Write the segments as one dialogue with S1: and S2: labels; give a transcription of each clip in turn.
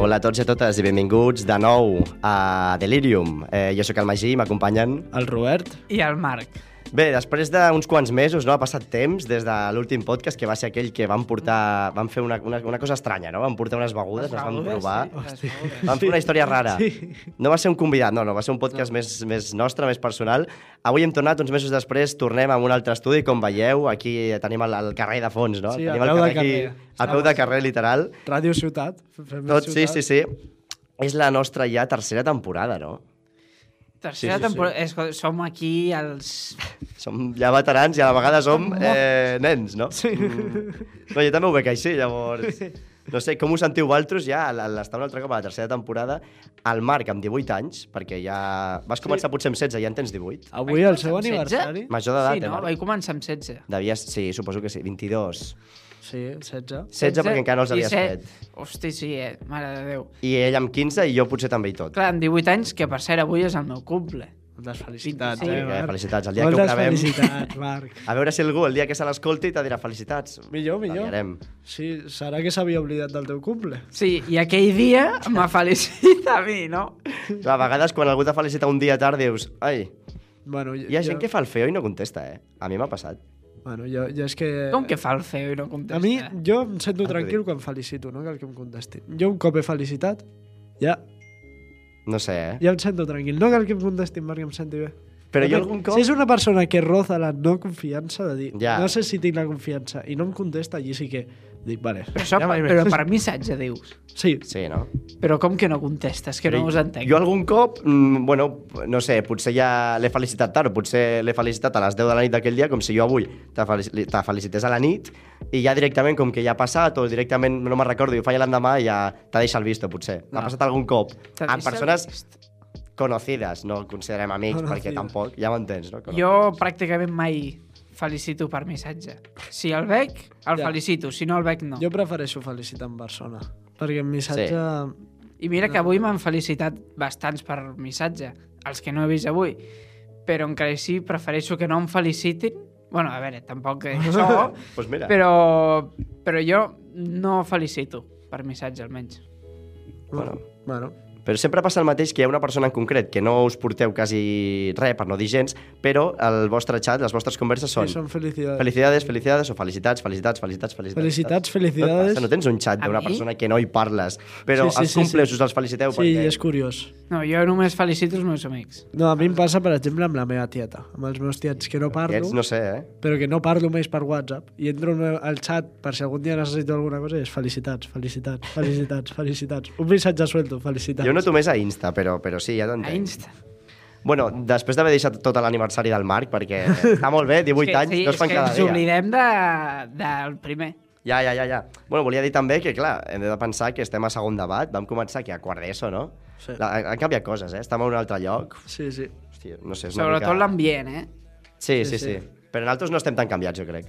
S1: Hola a tots i a totes i benvinguts de nou a Delirium. Eh, jo sóc el Magí, m'acompanyen...
S2: El Robert?
S3: I el Marc.
S1: Bé, després d'uns quants mesos, no? Ha passat temps des de l'últim podcast, que va ser aquell que van portar... Van fer una, una, una cosa estranya, no? Van portar unes begudes, les van provar...
S3: Sí,
S1: Van fer una història rara. No va ser un convidat, no, no, va ser un podcast més, més nostre, més personal. Avui hem tornat, uns mesos després, tornem a un altre estudi, com veieu, aquí tenim el, el carrer de fons, no?
S2: Sí,
S1: tenim
S2: al peu de carrer.
S1: Aquí, al peu de carrer, literal.
S2: Ràdio Ciutat? Fem
S1: Tot, sí, sí, sí. És la nostra ja tercera temporada, no?
S3: Tercera
S2: Sí, sí, sí.
S3: temporada. Escolta, som aquí als...
S1: Som ja veterans i a la vegada som eh, nens, no? Sí. Mm. No, jo també ho veig així, llavors... No sé, com us sentiu vosaltres ja a l'estar un altre cop a la tercera temporada? El Marc, amb 18 anys, perquè ja... Vas començar potser amb 16, ja en tens 18.
S2: Avui el seu
S3: Amb setze?
S2: aniversari?
S1: Major d'edat,
S3: sí, no?
S1: eh, Marc?
S3: Vaig començar amb 16.
S1: Devies... Sí, suposo que sí. 22. 16,
S2: Sí, 16.
S1: 16 perquè encara no els havies
S3: 17.
S1: fet.
S3: Hosti, sí, eh? Mare de Déu.
S1: I ell amb 15 i jo potser també i tot.
S3: Clar, amb 18 anys, que per cert avui és el meu cumple.
S2: Moltes felicitats,
S3: Sí,
S2: eh,
S3: eh,
S2: Marc?
S1: felicitats. El dia que ho
S2: Moltes
S1: gravem-
S2: felicitats, Marc.
S1: A veure si algú el dia que se l'escolti te dirà felicitats.
S2: Millor, millor.
S1: T'enviarem.
S2: Sí, serà que s'havia oblidat del teu cumple.
S3: Sí, i aquell dia me felicita a mi, no?
S1: Clar, a vegades quan algú te felicita un dia tard dius... Ai,
S2: Bueno,
S1: hi ha gent que fa el feo i no contesta, eh? A mi m'ha passat.
S2: Bueno, jo, jo és que...
S3: Com que eh? fa el feo i no contesta?
S2: A mi, jo em sento
S1: Ah,
S2: tranquil quan felicito, no cal que em contesti. Jo un cop he felicitat, ja,
S1: No sé, eh?
S2: ja em sento tranquil. No cal que em contestin perquè em senti bé.
S1: Però jo
S2: Depèn.
S1: algun cop...
S2: Si és una persona que roza la no confiança de dir,
S1: Ja.
S2: ja. no sé si tinc la confiança, i no em contesta, allí sí que dic, vale.
S3: Però, això,
S2: ja
S3: per,
S2: vaig bé.
S3: però per missatge dius.
S2: Sí,
S1: Sí, no?
S3: Però com que no contestes? Que no us entenc.
S1: Jo algun cop, mm, bueno, no sé, potser ja l'he felicitat tard, o potser l'he felicitat a les 10 de la nit d'aquell dia, com si jo avui te, felici te felicités a la nit, i ja directament, com que ja ha passat, o directament, no me'n recordo, jo falla l'endemà i ja te deixa el visto, potser.
S3: No.
S1: M'ha passat algun cop.
S3: T'ha
S1: Amb
S3: vist el
S1: Ah, persones
S3: text?
S1: conocides, no considerem amics, perquè
S2: Conocides.
S1: tampoc, ja m'entens, no?
S3: Jo pràcticament mai felicito per missatge. Si el veig, el
S2: Ja.
S3: felicito. Si no el veig, no.
S2: jo prefereixo felicitar en persona, perquè en missatge... Sí.
S3: I mira que avui m'han felicitat bastants per missatge, els que no he vist avui. Però encara així prefereixo que no em felicitin. bueno, a veure, tampoc que això,
S1: Pues Doncs mira, Però...
S3: però, però jo no felicito per missatge, almenys.
S1: Bueno.
S2: Bueno,
S1: Però sempre passa el mateix que hi ha una persona en concret que no us porteu quasi res, per no dir gens, però el vostre xat, les vostres converses
S2: són,
S1: són...
S2: sí, són felicitats.
S1: Felicidades, felicidades o felicitats, felicitats, felicitats, felicitats. Què
S2: Felicitats,
S1: et
S2: felicidades.
S1: passa? No tens un xat
S3: A
S1: d'una
S3: mi?
S1: persona que no hi parles, però
S2: Sí, sí,
S1: els
S2: sí,
S1: cumples
S2: sí.
S1: us els feliciteu
S2: sí,
S1: perquè...
S2: és curiós.
S3: No, jo només felicito els meus amics.
S2: No, a mi em passa, per exemple, amb la meva tieta, amb els meus tiets, que no parlo,
S1: Aquests no sé, eh?
S2: però que no parlo més per WhatsApp, i entro al- al xat per si algun dia necessito alguna cosa, i és felicitats, felicitats, felicitats, felicitats. Un missatge suelto, felicitats.
S1: Jo ho noto més a Insta, però, però sí, ja
S3: A
S1: t'entenc.
S3: Insta.
S1: Bueno, després d'haver deixat tot l'aniversari del Marc, perquè està molt bé, 18
S3: És que,
S1: anys,
S3: sí,
S1: no es
S3: és
S1: fan
S3: que
S1: cada
S3: ens
S1: dia.
S3: oblidem de, del primer.
S1: Ja, ja, ja, ja. Bueno, volia dir també que, clar, hem de pensar que estem a segon debat, vam començar aquí a quart d'ESO, no?
S2: Sí.
S1: La, han canviat coses, eh? Estem a un altre lloc.
S2: Sí, sí.
S1: Hòstia, no sé, és una
S3: Sobretot
S1: mica...
S3: l'ambient, eh?
S1: Sí, sí,
S2: Sí,
S1: sí.
S2: sí.
S1: Però nosaltres no estem tan canviats, jo crec.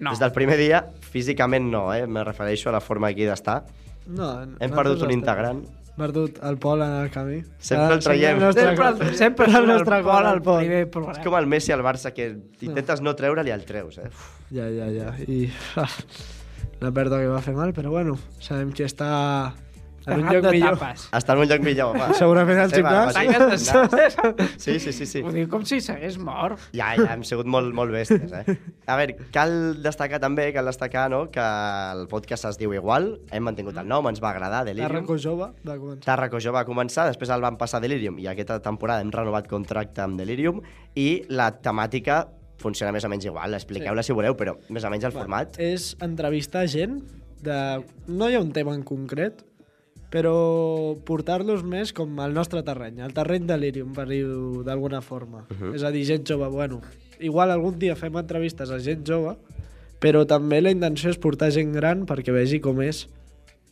S3: No.
S1: Des del primer dia, físicament no, eh? Me refereixo a la forma aquí d'estar.
S2: No,
S1: Hem
S2: nosaltres
S1: perdut un
S2: estem-
S1: integrant.
S2: Perdut el Pol en el camí.
S1: Sempre el traiem.
S3: Sempre, sempre surt
S2: el nostre
S3: el
S2: cor
S3: Pol
S2: al
S3: al
S2: Pol.
S3: primer programa.
S1: És com el Messi al Barça, que intentes no treure'l i el treus, eh? Uf,
S2: Ja, ja, ja. I ah, una pèrdua que va fer mal, però bueno, sabem que està en un
S3: Arran
S2: lloc
S3: de
S2: millor.
S3: tapes.
S1: Està en un lloc millor, va.
S2: Segurament al
S1: Sí, va, va,
S2: gimnàs.
S1: sí.
S3: Tanques de sacs.
S1: Sí, sí, sí, sí.
S3: Ho diu com si s'hagués mort.
S1: Ja, ja, hem sigut molt, molt bèsties, eh? A veure, cal destacar també, cal destacar, no?, que el podcast es diu igual, hem mantingut el nom, ens va agradar, Delirium.
S2: Tarraco jove va començar.
S1: Tàrraco jo va començar, després el van passar a Delirium i aquesta temporada hem renovat contracte amb Delirium i la temàtica funciona més o menys igual, expliqueu-la si voleu, però més o
S2: eh,
S1: menys el format.
S2: És entrevistar gent de... No hi ha un tema en concret, però portar-los més com al nostre terreny, al terreny delirium, per dir-ho d'alguna forma. Uh -huh. És a dir, gent jove, bueno, igual algun dia fem entrevistes a gent jove, però també la intenció és portar gent gran perquè vegi com és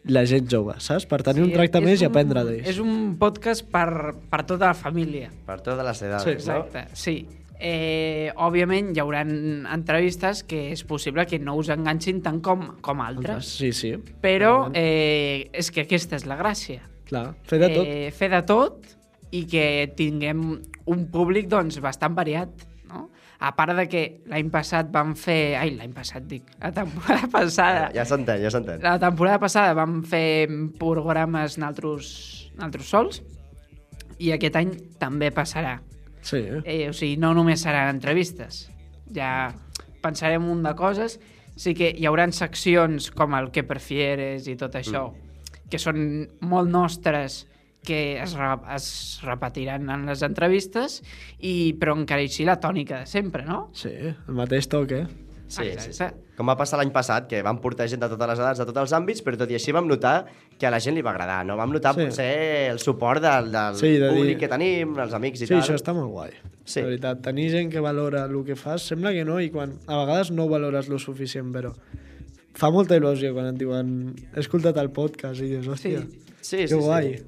S2: la gent jove, saps? Per tenir sí, un tracte
S3: és
S2: més i
S3: un-
S2: aprendre d'ells.
S3: És un podcast per, per tota la família.
S1: Per totes les edats,
S2: Sí,
S1: no?
S3: Exacte, sí. Eh, òbviament hi haurà entrevistes que és possible que no us enganxin tant com, com altres,
S2: Sí, sí,
S3: però eh, és que aquesta és la gràcia.
S2: clar. Fer de tot.
S3: Eh, fer de tot i que tinguem un públic doncs, bastant variat. No? A part de que l'any passat vam fer... Ai, l'any passat, dic. La temporada passada...
S1: Ja s'entén, ja s'entén.
S3: La temporada passada vam fer programes naltros, naltros sols i aquest any també passarà.
S2: Sí, eh?
S3: Eh, o sigui, no només seran entrevistes. Ja pensarem un de coses. Sí que hi hauran seccions com el que prefieres i tot això, mm. que són molt nostres, que es, re es repetiran en les entrevistes, i però encara així la tònica de sempre, no?
S2: Sí, el mateix toc, eh?
S1: Sí, sí,
S3: sí.
S1: Com va passar l'any passat, que vam portar gent de totes les edats, de tots els àmbits, però tot i així vam notar que a la gent li va agradar, no? Vam notar
S2: Sí.
S1: sí. potser el suport del, del
S2: Sí,
S1: sí,
S2: de
S1: de
S2: dir-
S1: públic que tenim, els amics i
S2: Sí,
S1: tal.
S2: això està molt guai.
S1: Sí.
S2: La veritat, tenir gent que valora el que fas, sembla que no, i quan a vegades no ho valores lo suficient, però fa molta il·lusió quan et diuen he escoltat el podcast i dius, hòstia,
S3: Sí.
S1: Sí,
S2: que
S1: sí, sí.
S2: guai.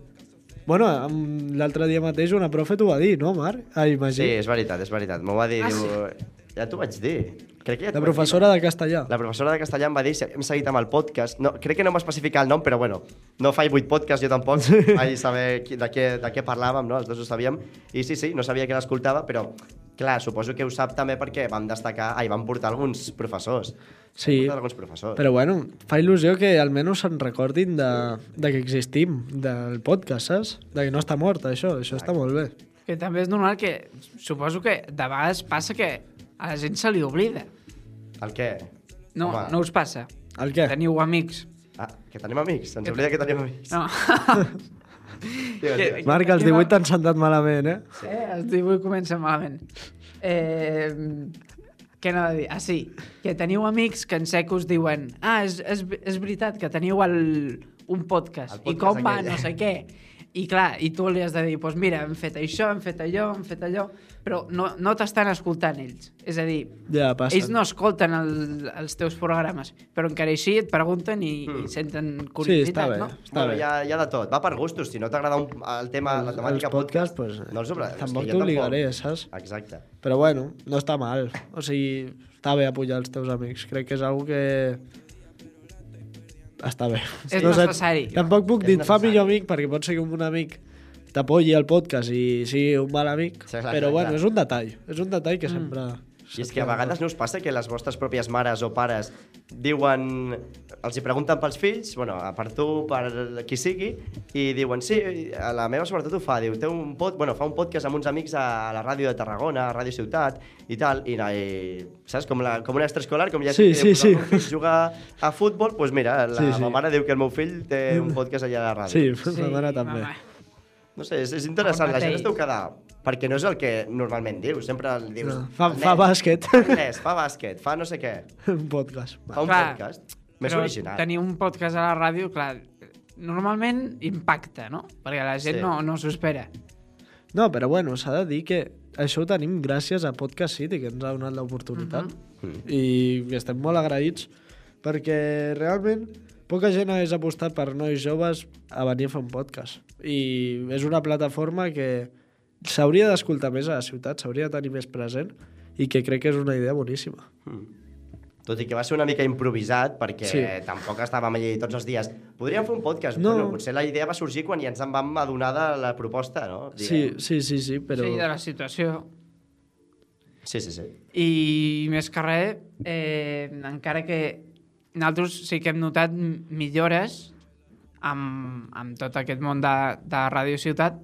S2: Bueno, amb- l'altre dia mateix una profe t'ho va dir, no, Marc? Ah, Ai,
S1: Sí,
S2: Magí.
S1: és veritat, és veritat. M'ho va dir,
S3: Ah,
S1: ah, diu... Ja t'ho vaig dir. Crec que ja t'ho vaig
S2: La
S1: dir,
S2: professora de castellà.
S1: La professora de castellà em va dir, si hem seguit amb el podcast, no, crec que no m'ha especificat el nom, però bueno, no faig vuit podcasts, jo tampoc, vaig saber qui- de què, de què parlàvem, no? els dos ho sabíem, i sí, sí, no sabia que l'escoltava, però clar, suposo que ho sap també perquè vam destacar, ai, vam portar alguns professors.
S2: Sí.
S1: Vam portar alguns professors.
S2: Però bueno, fa il·lusió que almenys se'n recordin de, de que existim, del podcast, saps? De que no està mort, això. Això està molt bé.
S3: Que també és normal que... Suposo que de vegades passa que a la gent se li oblida.
S1: El què?
S3: No,
S1: Home.
S3: no us passa.
S2: El què?
S3: Teniu amics.
S1: Ah, que tenim amics, ens oblida que tenim amics.
S3: No.
S1: Tio, tio.
S2: Marc, els 18 t'han sentat malament, eh?
S3: Eh, els 18 comencen malament. Eh, què anava a dir? Ah, sí. Que teniu amics que en sec us diuen ah, és, és, és veritat que teniu el, un podcast.
S1: El
S3: podcast I
S1: podcast
S3: com va,
S1: aquell.
S3: no sé què. I clar, i tu li has de dir, doncs mira, hem fet això, hem fet allò, hem fet allò, però no, no t'estan escoltant ells. És a dir,
S2: Ja, passa.
S3: ells no escolten el, els teus programes, però encara així et pregunten i,
S1: Hmm.
S3: i senten curiositat,
S2: Sí, està bé.
S3: no?
S2: Està
S1: Bueno,
S2: bé.
S1: hi ha, hi ha de tot, va per gustos, si no t'agrada un- el tema, la temàtica podcast,
S2: pues,
S1: no els oblida.
S2: tampoc t'obligaré, saps?
S1: Exacte.
S2: Però bueno, no està mal. O sigui, està bé apujar els teus amics. Crec que és algo que... Està bé.
S3: És
S2: sé-
S3: necessari.
S2: Tampoc puc
S1: És
S2: dir, fa
S1: necessari.
S2: millor amic, perquè pot ser que un amic t'apolli al podcast i sigui un mal amic,
S1: Sí, clar, clar,
S2: però bueno,
S1: clar. Mm.
S2: és un detall, és un detall que sempre...
S1: I és que a vegades no us passa que les vostres pròpies mares o pares diuen... Els hi pregunten pels fills, bueno, per tu, per qui sigui, i diuen, sí, a la meva sobretot ho fa, diu, té un pod... bueno, fa un podcast amb uns amics a la ràdio de Tarragona, a Ràdio Ciutat, i tal, i, na- i saps, com, la, com un extraescolar, com ja
S2: Sí,
S1: sé que diu,
S2: sí,
S1: "Pues
S2: sí.
S1: El meu fill juga a futbol, doncs mira, la
S2: Sí,
S1: sí,
S2: sí.
S1: sí. meva mare diu que el meu fill té un podcast allà a la ràdio.
S2: Sí, sí, ma mare també.
S3: mama.
S1: No sé, és, és interessant, la gent
S3: Mateix.
S1: es deu quedar... Perquè no és el que normalment dius, sempre el dius...
S2: No, fa-
S1: "El
S2: fa
S1: nen,
S2: bàsquet."
S1: Anglès, fa bàsquet, fa no sé què.
S2: Un podcast. Va.
S1: Fa un
S3: Clar,
S1: podcast. Més
S3: Però
S1: original.
S3: Tenir un podcast a la ràdio, clar, normalment impacta, no? Perquè la gent
S1: Sí.
S3: no, no s'ho espera.
S2: No, però bueno, s'ha de dir que això ho tenim gràcies a Podcast City, que ens ha donat l'oportunitat.
S1: Mm.
S2: I estem molt agraïts perquè realment poca gent hagués apostat per nois joves a venir a fer un podcast. I és una plataforma que s'hauria d'escoltar més a la ciutat, s'hauria de tenir més present i que crec que és una idea boníssima.
S1: Tot i que va ser una mica improvisat, perquè
S2: Sí.
S1: sí. tampoc estàvem allà tots els dies. Podríem fer un podcast?
S2: No.
S1: No. Bueno, potser la idea va sorgir quan ja ens en vam adonar de la proposta, no?
S2: Sí,
S1: Diguem.
S2: sí, sí, sí,
S3: Però...
S2: però...
S3: Sí, de la situació.
S1: Sí, sí, sí.
S3: I més que res, eh, encara que nosaltres sí que hem notat m- millores amb, amb tot aquest món de, de Ràdio Ciutat,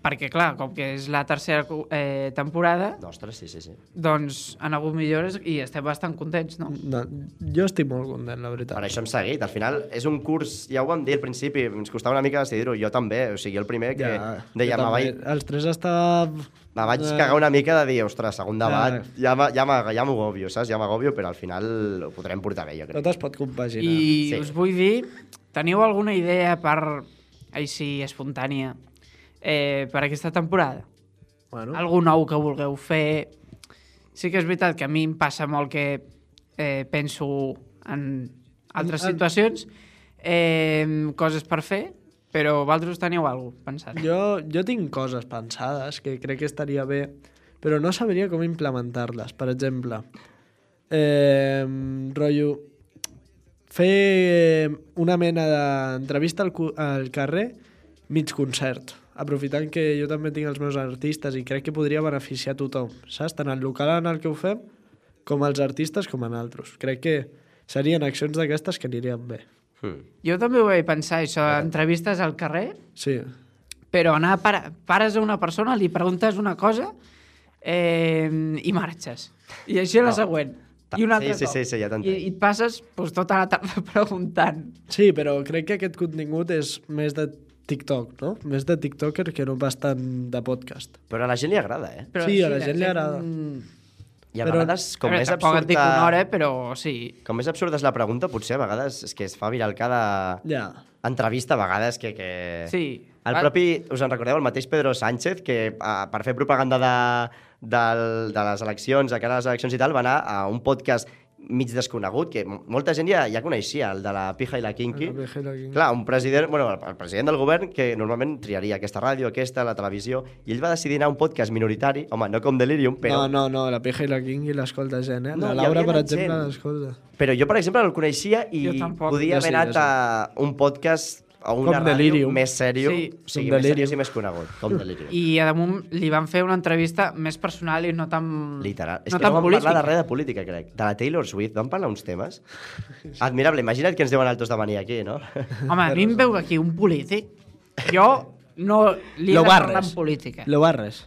S3: perquè, clar, com que és la tercera eh, temporada,
S1: Ostres, sí, sí, sí.
S3: doncs han hagut millores i estem bastant contents, no?
S2: No, jo estic molt content, la veritat.
S1: Per això hem seguit. Al final és un curs, ja ho vam dir al principi, ens costava una mica decidir-ho, jo també, o sigui, el primer que ja, deia,
S2: jo
S1: me vaig,
S2: també. Els tres estàvem...
S1: Me vaig cagar una mica de dir, ostres, segon debat,
S2: Ah.
S1: ja, me- ja, me- ja m'agobio, saps? Ja m'agobio, però al final ho podrem portar bé, jo crec.
S2: Tot es pot compaginar.
S3: I
S1: Sí.
S3: us vull dir, teniu alguna idea per, així espontània eh, per aquesta temporada?
S2: Bueno,
S3: Algú nou que vulgueu fer? Sí que és veritat que a mi em passa molt que eh, penso en altres
S2: En- en-
S3: situacions, eh, coses per fer, però vosaltres teniu alguna cosa pensat?
S2: jo, jo tinc coses pensades que crec que estaria bé, però no sabria com implementar-les. Per exemple, eh, rotllo, fer una mena d'entrevista al, cu- al carrer mig concert, aprofitant que jo també tinc els meus artistes i crec que podria beneficiar tothom, saps? Tant el local en el que ho fem com els artistes com en altres. Crec que serien accions d'aquestes que anirien bé.
S1: Mm.
S3: Jo també ho vaig pensar, això, entrevistes al carrer,
S2: Sí,
S3: però anar a para, pares a una persona, li preguntes una cosa eh, i marxes. I així
S1: No.
S3: la següent.
S1: Ta-
S3: I un
S1: sí,
S3: altre
S1: sí,
S3: cop.
S1: sí, sí, ja t'entenc.
S3: I, I et passes doncs, tota la tarda preguntant.
S2: Sí, però crec que aquest contingut és més de TikTok, no? Més de TikToker que no pas tant de podcast.
S1: Però a la gent li agrada, eh?
S3: Però
S2: Sí, a la gent li agrada.
S3: mm.
S1: I a
S2: Però-
S1: vegades, com
S3: Com a veure,
S1: més
S3: tampoc et dic
S1: absurda...
S3: una hora, eh, però sí.
S1: Com més absurda és la pregunta, potser a vegades és que es fa viral cada
S2: Ja.
S1: entrevista, a vegades que... que...
S3: Sí. Ah.
S1: El
S3: Va-
S1: propi, us en recordeu, el mateix Pedro Sánchez, que a, per fer propaganda de, del, de les eleccions, de cara a les eleccions i tal, va anar a un podcast mig desconegut, que m- molta gent ja, ja coneixia, el de la pija i la kinky.
S2: La Pija i la Kinky.
S1: Clar, un president, bueno, el- el president del govern, que normalment triaria aquesta ràdio, aquesta, la televisió, i ell va decidir anar a un podcast minoritari, home, no com Delirium, però...
S2: Però... No, no, no, la Pija i la King i l'escolta gent, eh?
S1: No,
S2: No, la
S1: hi
S2: Laura,
S1: havia
S2: per
S1: anat
S2: exemple,
S1: gent.
S2: l'escolta.
S1: Però jo, per exemple, no el coneixia i
S3: Jo tampoc.
S1: podia
S2: Jo
S1: haver
S2: sí,
S1: anat
S2: jo
S1: a un podcast o
S2: Com
S1: una ràdio
S2: Delirium.
S1: més sèrio,
S3: Sí,
S1: o sigui,
S2: com
S1: més seriós i
S2: Delirium.
S1: més conegut, com Delirium. I...
S3: I a damunt li van fer una entrevista més personal i no tan...
S1: Literal. És
S3: No
S1: que no
S3: tan
S1: vam
S3: política.
S1: parlar de res de política, crec. De la Taylor Swift, vam parlar uns temes. Admirable, imagina't que ens deuen altos de venir aquí, no?
S3: Home, a mi em veu aquí un polític. Jo no li he
S2: Lo
S3: de parlar
S2: barres.
S3: en política.
S2: Lo barres.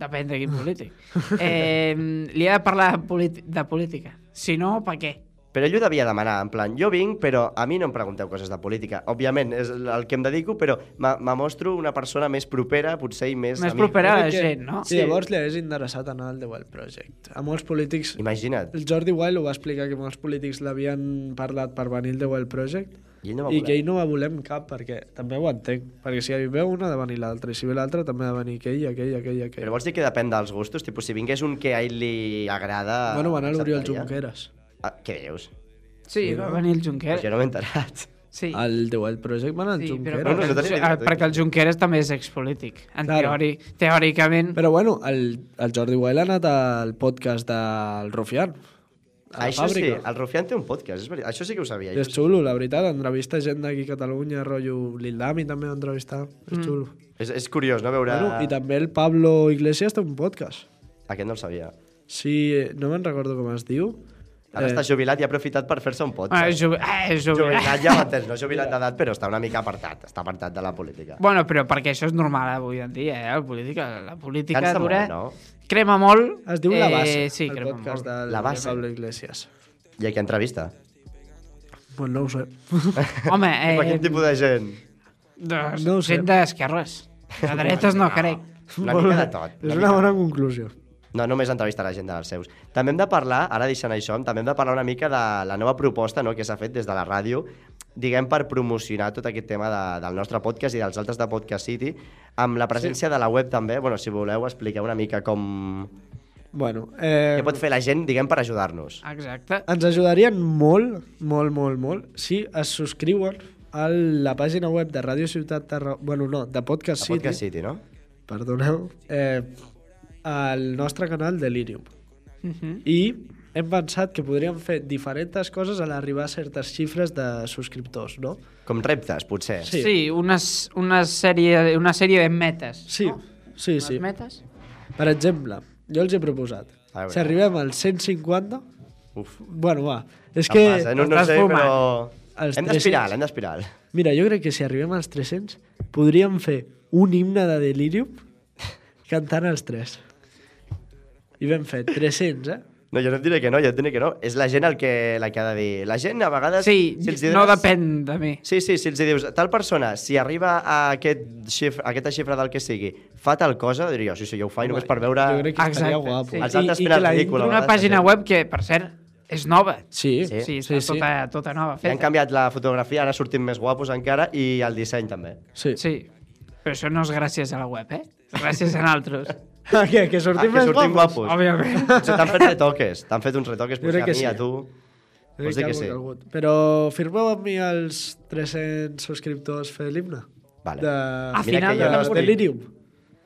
S3: Depèn de quin polític. Eh, li he de parlar de, politi- de política. Si no, per què?
S1: Però ell ho devia demanar, en plan, jo vinc, però a mi no em pregunteu coses de política. Òbviament, és el que em dedico, però me me mostro una persona més propera, potser, i més,
S3: Més
S1: a mi.
S3: propera a la
S2: Crec que-
S3: gent, no?
S2: Sí, llavors li hagués interessat anar al The Wild Project. A molts polítics...
S1: Imagina't.
S2: El Jordi Wild ho va explicar, que molts polítics l'havien parlat per venir al The Wild Project
S1: I ell no va
S2: i
S1: voler.
S2: que ell no va volem cap, perquè també ho entenc. Perquè si hi veu una, ha de venir l'altra, i si ve l'altra, també ha de venir aquell, aquell, aquell, aquell.
S1: Però vols dir que depèn dels gustos? Tipus, si vingués un que a ell li agrada...
S2: Bueno, va anar l'Oriol
S1: acceptaria?
S2: Junqueras.
S1: Ah, què dius?
S3: Sí, va venir el
S1: Pues
S3: Junqueras.
S1: jo no m'he enterat.
S3: Sí,
S2: El The Wild Project va anar al
S3: sí però,
S2: Junqueras.
S1: No, no,
S3: perquè,
S1: no
S3: el,
S1: tenia idea,
S3: ah,
S1: tio.
S3: perquè el Junqueras també és expolític. En
S2: Claro.
S3: teori, teòricament...
S2: Però bueno, el, el Jordi Wild ha anat al podcast del Rufián. A la
S1: Ah, Això sí,
S2: fàbrica.
S1: el Rufián té un podcast, és veritat. Això sí que ho sabia.
S2: És xulo, la veritat, entrevista gent d'aquí a Catalunya, rotllo Lil Dami també va entrevistar, és
S3: Mm.
S2: xulo.
S1: És, és curiós, no, veure...
S2: Bueno, I també el Pablo Iglesias té un podcast.
S1: Aquest no el sabia.
S2: Sí, no me'n recordo com es diu.
S1: Ara
S2: Eh.
S1: està jubilat i ha aprofitat per fer-se un
S3: Ah,
S1: podcast.
S3: és jubi... ah, és jubi...
S1: jubilat ja ho entens, no jubilat d'edat, però està una mica apartat. Està apartat de la política.
S3: Bueno, però perquè això és normal avui en dia, eh? La política, la política
S1: Cansa
S3: dura...
S1: molt,
S3: Crema molt.
S2: Es diu La Base,
S3: Eh, sí,
S2: el
S3: crema
S2: podcast
S3: molt.
S2: del
S1: La Base.
S2: Pablo Iglesias.
S1: I aquí entrevista.
S2: Pues no ho sé.
S3: Home,
S1: Eh... Per
S3: eh,
S1: quin tipus de gent?
S3: doncs,
S2: No ho sé.
S3: gent d'esquerres. De dretes no, crec.
S1: Una mica de tot.
S2: És
S1: una
S2: una
S1: mica.
S2: bona conclusió.
S1: No, només entrevistar la gent dels seus. També hem de parlar, ara deixant això, també hem de parlar una mica de la nova proposta no, que s'ha fet des de la ràdio, diguem, per promocionar tot aquest tema de, del nostre podcast i dels altres de Podcast City, amb la presència sí. de la web també. Bueno, si voleu, expliqueu una mica com...
S2: Bueno,
S1: Què
S2: eh,
S1: pot fer la gent, diguem, per ajudar-nos.
S3: Exacte.
S2: ens ajudarien molt, molt, molt, molt, si es subscriuen a la pàgina web de Ràdio Ciutat Tarragona... Bueno, no, de Podcast
S1: A
S2: City.
S1: Podcast City, no?
S2: Perdoneu. Eh, al nostre canal Delirium.
S3: Mhm.
S2: I hem pensat que podríem fer diferents coses a l'arribar a certes xifres de subscriptors, no?
S1: Com reptes, potser.
S2: Sí.
S3: Sí, unes, una, sèrie, una sèrie de metes.
S2: Sí,
S3: no?
S2: sí,
S3: Unes
S2: sí.
S3: metes.
S2: Per exemple, jo els he proposat.
S1: A veure.
S2: Si arribem al 150...
S1: Ah, Uf.
S2: Bueno, va. És
S1: Em
S2: que...
S1: passa, eh? no, no
S3: Estàs
S1: sé,
S3: fumant.
S1: però...
S2: Els
S1: Hem
S2: 300.
S1: d'espiral, hem d'espiral.
S2: Mira, jo crec que si arribem als 300 podríem fer un himne de Delirium cantant els tres. I ben fet, 300, eh?
S1: No, jo no et diré que no, jo et diré que no. És la gent el que, la que ha de dir. La gent, a vegades...
S3: Sí,
S1: els
S3: no
S1: dones-
S3: depèn de mi.
S1: Sí, sí, si els hi dius, tal persona, si arriba a, aquest xif a aquesta xifra del que sigui, fa tal cosa, diria, sí, sí, jo ho faig només per veure...
S2: Jo crec que estaria
S3: Exacte,
S2: guapo.
S3: sí.
S1: Els
S2: I-
S1: altres
S2: i
S1: fent el
S2: que la
S1: ridícul,
S2: intro-
S1: a
S3: Una
S1: vegades,
S3: pàgina
S1: també.
S3: web que, per cert, és nova.
S2: Sí,
S1: Sí.
S3: Sí,
S2: sí,
S3: està
S2: sí.
S3: Tota, tota nova
S1: I han
S3: feta.
S1: canviat la fotografia, ara sortim més guapos encara, i el disseny també.
S2: sí. sí.
S3: Sí, però això no és gràcies a la web, eh? Gràcies a nosaltres,
S2: Ah, què, que sortim
S1: Ah, que
S2: més
S1: sortim
S2: guapos?
S1: guapos.
S3: òbviament.
S1: Potser T'han fet retoques, t'han fet uns retoques,
S2: Jo
S1: potser
S2: crec
S1: a
S2: que
S1: mi,
S2: sí.
S1: a tu... Vols
S2: Jo crec
S1: dir que
S2: que
S1: sí?
S2: algú ha calgut. Però firmeu amb mi els 300 subscriptors fer l'himne.
S1: Vale.
S2: De...
S3: A
S1: Mira que
S3: final de
S1: jo
S2: de,
S1: no
S3: la
S1: estic-
S2: Delirium.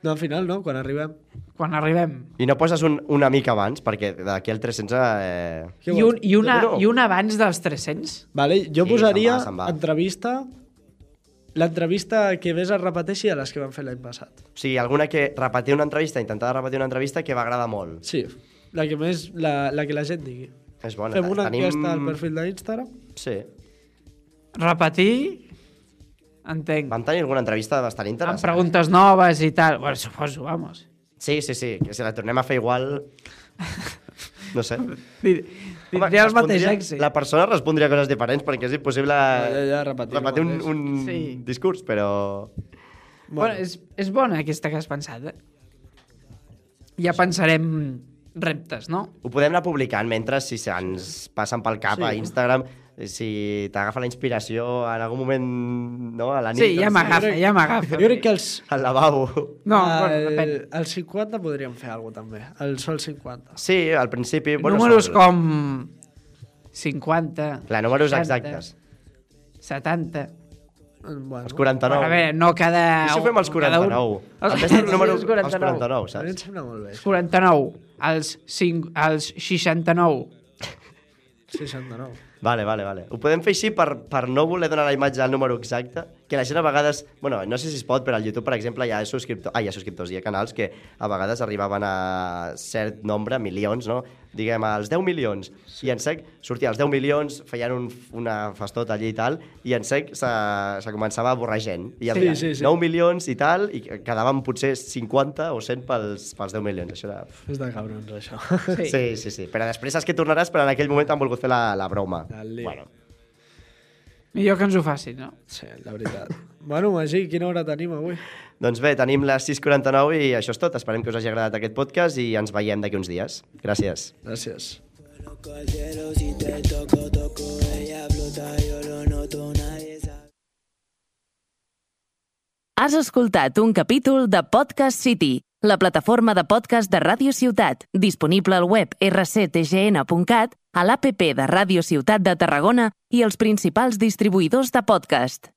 S2: No, al final, no? Quan arribem.
S3: Quan arribem.
S1: I no poses un, una mica abans, perquè d'aquí al 300... Eh...
S2: Què
S3: I
S2: vols?
S3: un, i, una,
S1: No, no.
S3: I un abans dels 300?
S2: Vale, jo
S1: Sí,
S2: sí, posaria
S1: se'n va, se'n va.
S2: entrevista l'entrevista que més es repeteixi a les que van fer l'any passat.
S1: O sigui, alguna que repetir una entrevista, intentar repetir una entrevista que m'agrada molt.
S2: Sí, la que més, la, la que la gent digui.
S1: És bona.
S2: Fem una Tenim... enquesta al perfil d'Instagram.
S1: Sí.
S3: Repetir, entenc.
S1: Vam tenir alguna entrevista bastant
S3: Amb
S1: interessant.
S3: preguntes noves i tal. Bueno, suposo, vamos.
S1: Sí, sí, sí, que si la tornem a fer igual... No sé.
S3: Dir-
S1: Home,
S3: Tindria el mateix
S1: respondria-
S3: èxit.
S1: La persona respondria coses diferents perquè és impossible
S2: ja, ja, repetir el
S1: repetir un,
S2: mateix.
S1: un sí.
S3: Sí.
S1: discurs, però...
S3: Bueno, és, és bona aquesta que has pensat, eh? Ja pensarem reptes, no?
S1: Ho podem anar publicant mentre si se'ns passen pel cap sí. a Instagram, si t'agafa la inspiració en algun moment, no?, a la nit.
S3: Sí, ja
S1: doncs,
S3: m'agafa,
S2: crec-
S3: ja m'agafa.
S2: Jo crec que els...
S1: Al lavabo.
S3: No,
S1: Eh,
S2: el,
S3: bueno, depèn.
S2: el 50 podríem fer alguna cosa, també. El sol 50.
S1: Sí, al principi...
S3: Números
S1: sol.
S3: com 50,
S1: Clar, números
S3: 60.
S1: exactes.
S3: 70...
S1: Els
S2: Bueno,
S1: 49.
S3: Bueno, a veure, no cada...
S1: I si fem els
S3: cada un.
S1: 49?
S3: Els,
S1: El best número,
S3: els
S1: Els 49,
S2: a mi em
S1: saps?
S2: sembla molt bé.
S3: Els 49, els, 5, els 69.
S2: 69.
S1: Vale, vale, vale. Ho podem fer així per, per no voler donar la imatge del número exacte, que la gent a vegades... Bueno, no sé si es pot, però al YouTube, per exemple, hi ha subscriptors... Ah, hi ha subscriptors, hi ha canals que a vegades arribaven a cert nombre, milions, no? Diguem, als 10 milions. Sí. I en sec sortia als 10 milions, feien un, una festota allí i tal, i en sec se, se començava a borrar gent. I
S2: Sí,
S1: havia
S2: sí, sí.
S1: 9 milions i tal, i quedaven potser 50 o 100 pels, pels 10 milions. Això era...
S2: És de cabrons, això.
S3: Sí. sí.
S1: Sí, sí, sí. Però després saps que tornaràs, però en aquell moment han volgut fer la, la broma.
S2: Dale.
S1: Bueno,
S3: Millor que ens ho facin, no?
S2: Sí, la veritat. Bueno, Magí, quina hora tenim avui?
S1: doncs bé, tenim les 6.49 i això és tot. Esperem que us hagi agradat aquest podcast i ens veiem d'aquí uns dies. Gràcies.
S2: Gràcies.
S4: Conozco al cielo, si te toco, toco. Ella flota, yo lo noto, nadie sabe.
S5: Has escoltat un capítol de Podcast City, la plataforma de podcast de Ràdio Ciutat, disponible al web rctgn.cat, a l'APP de Ràdio Ciutat de Tarragona i els principals distribuïdors de podcast.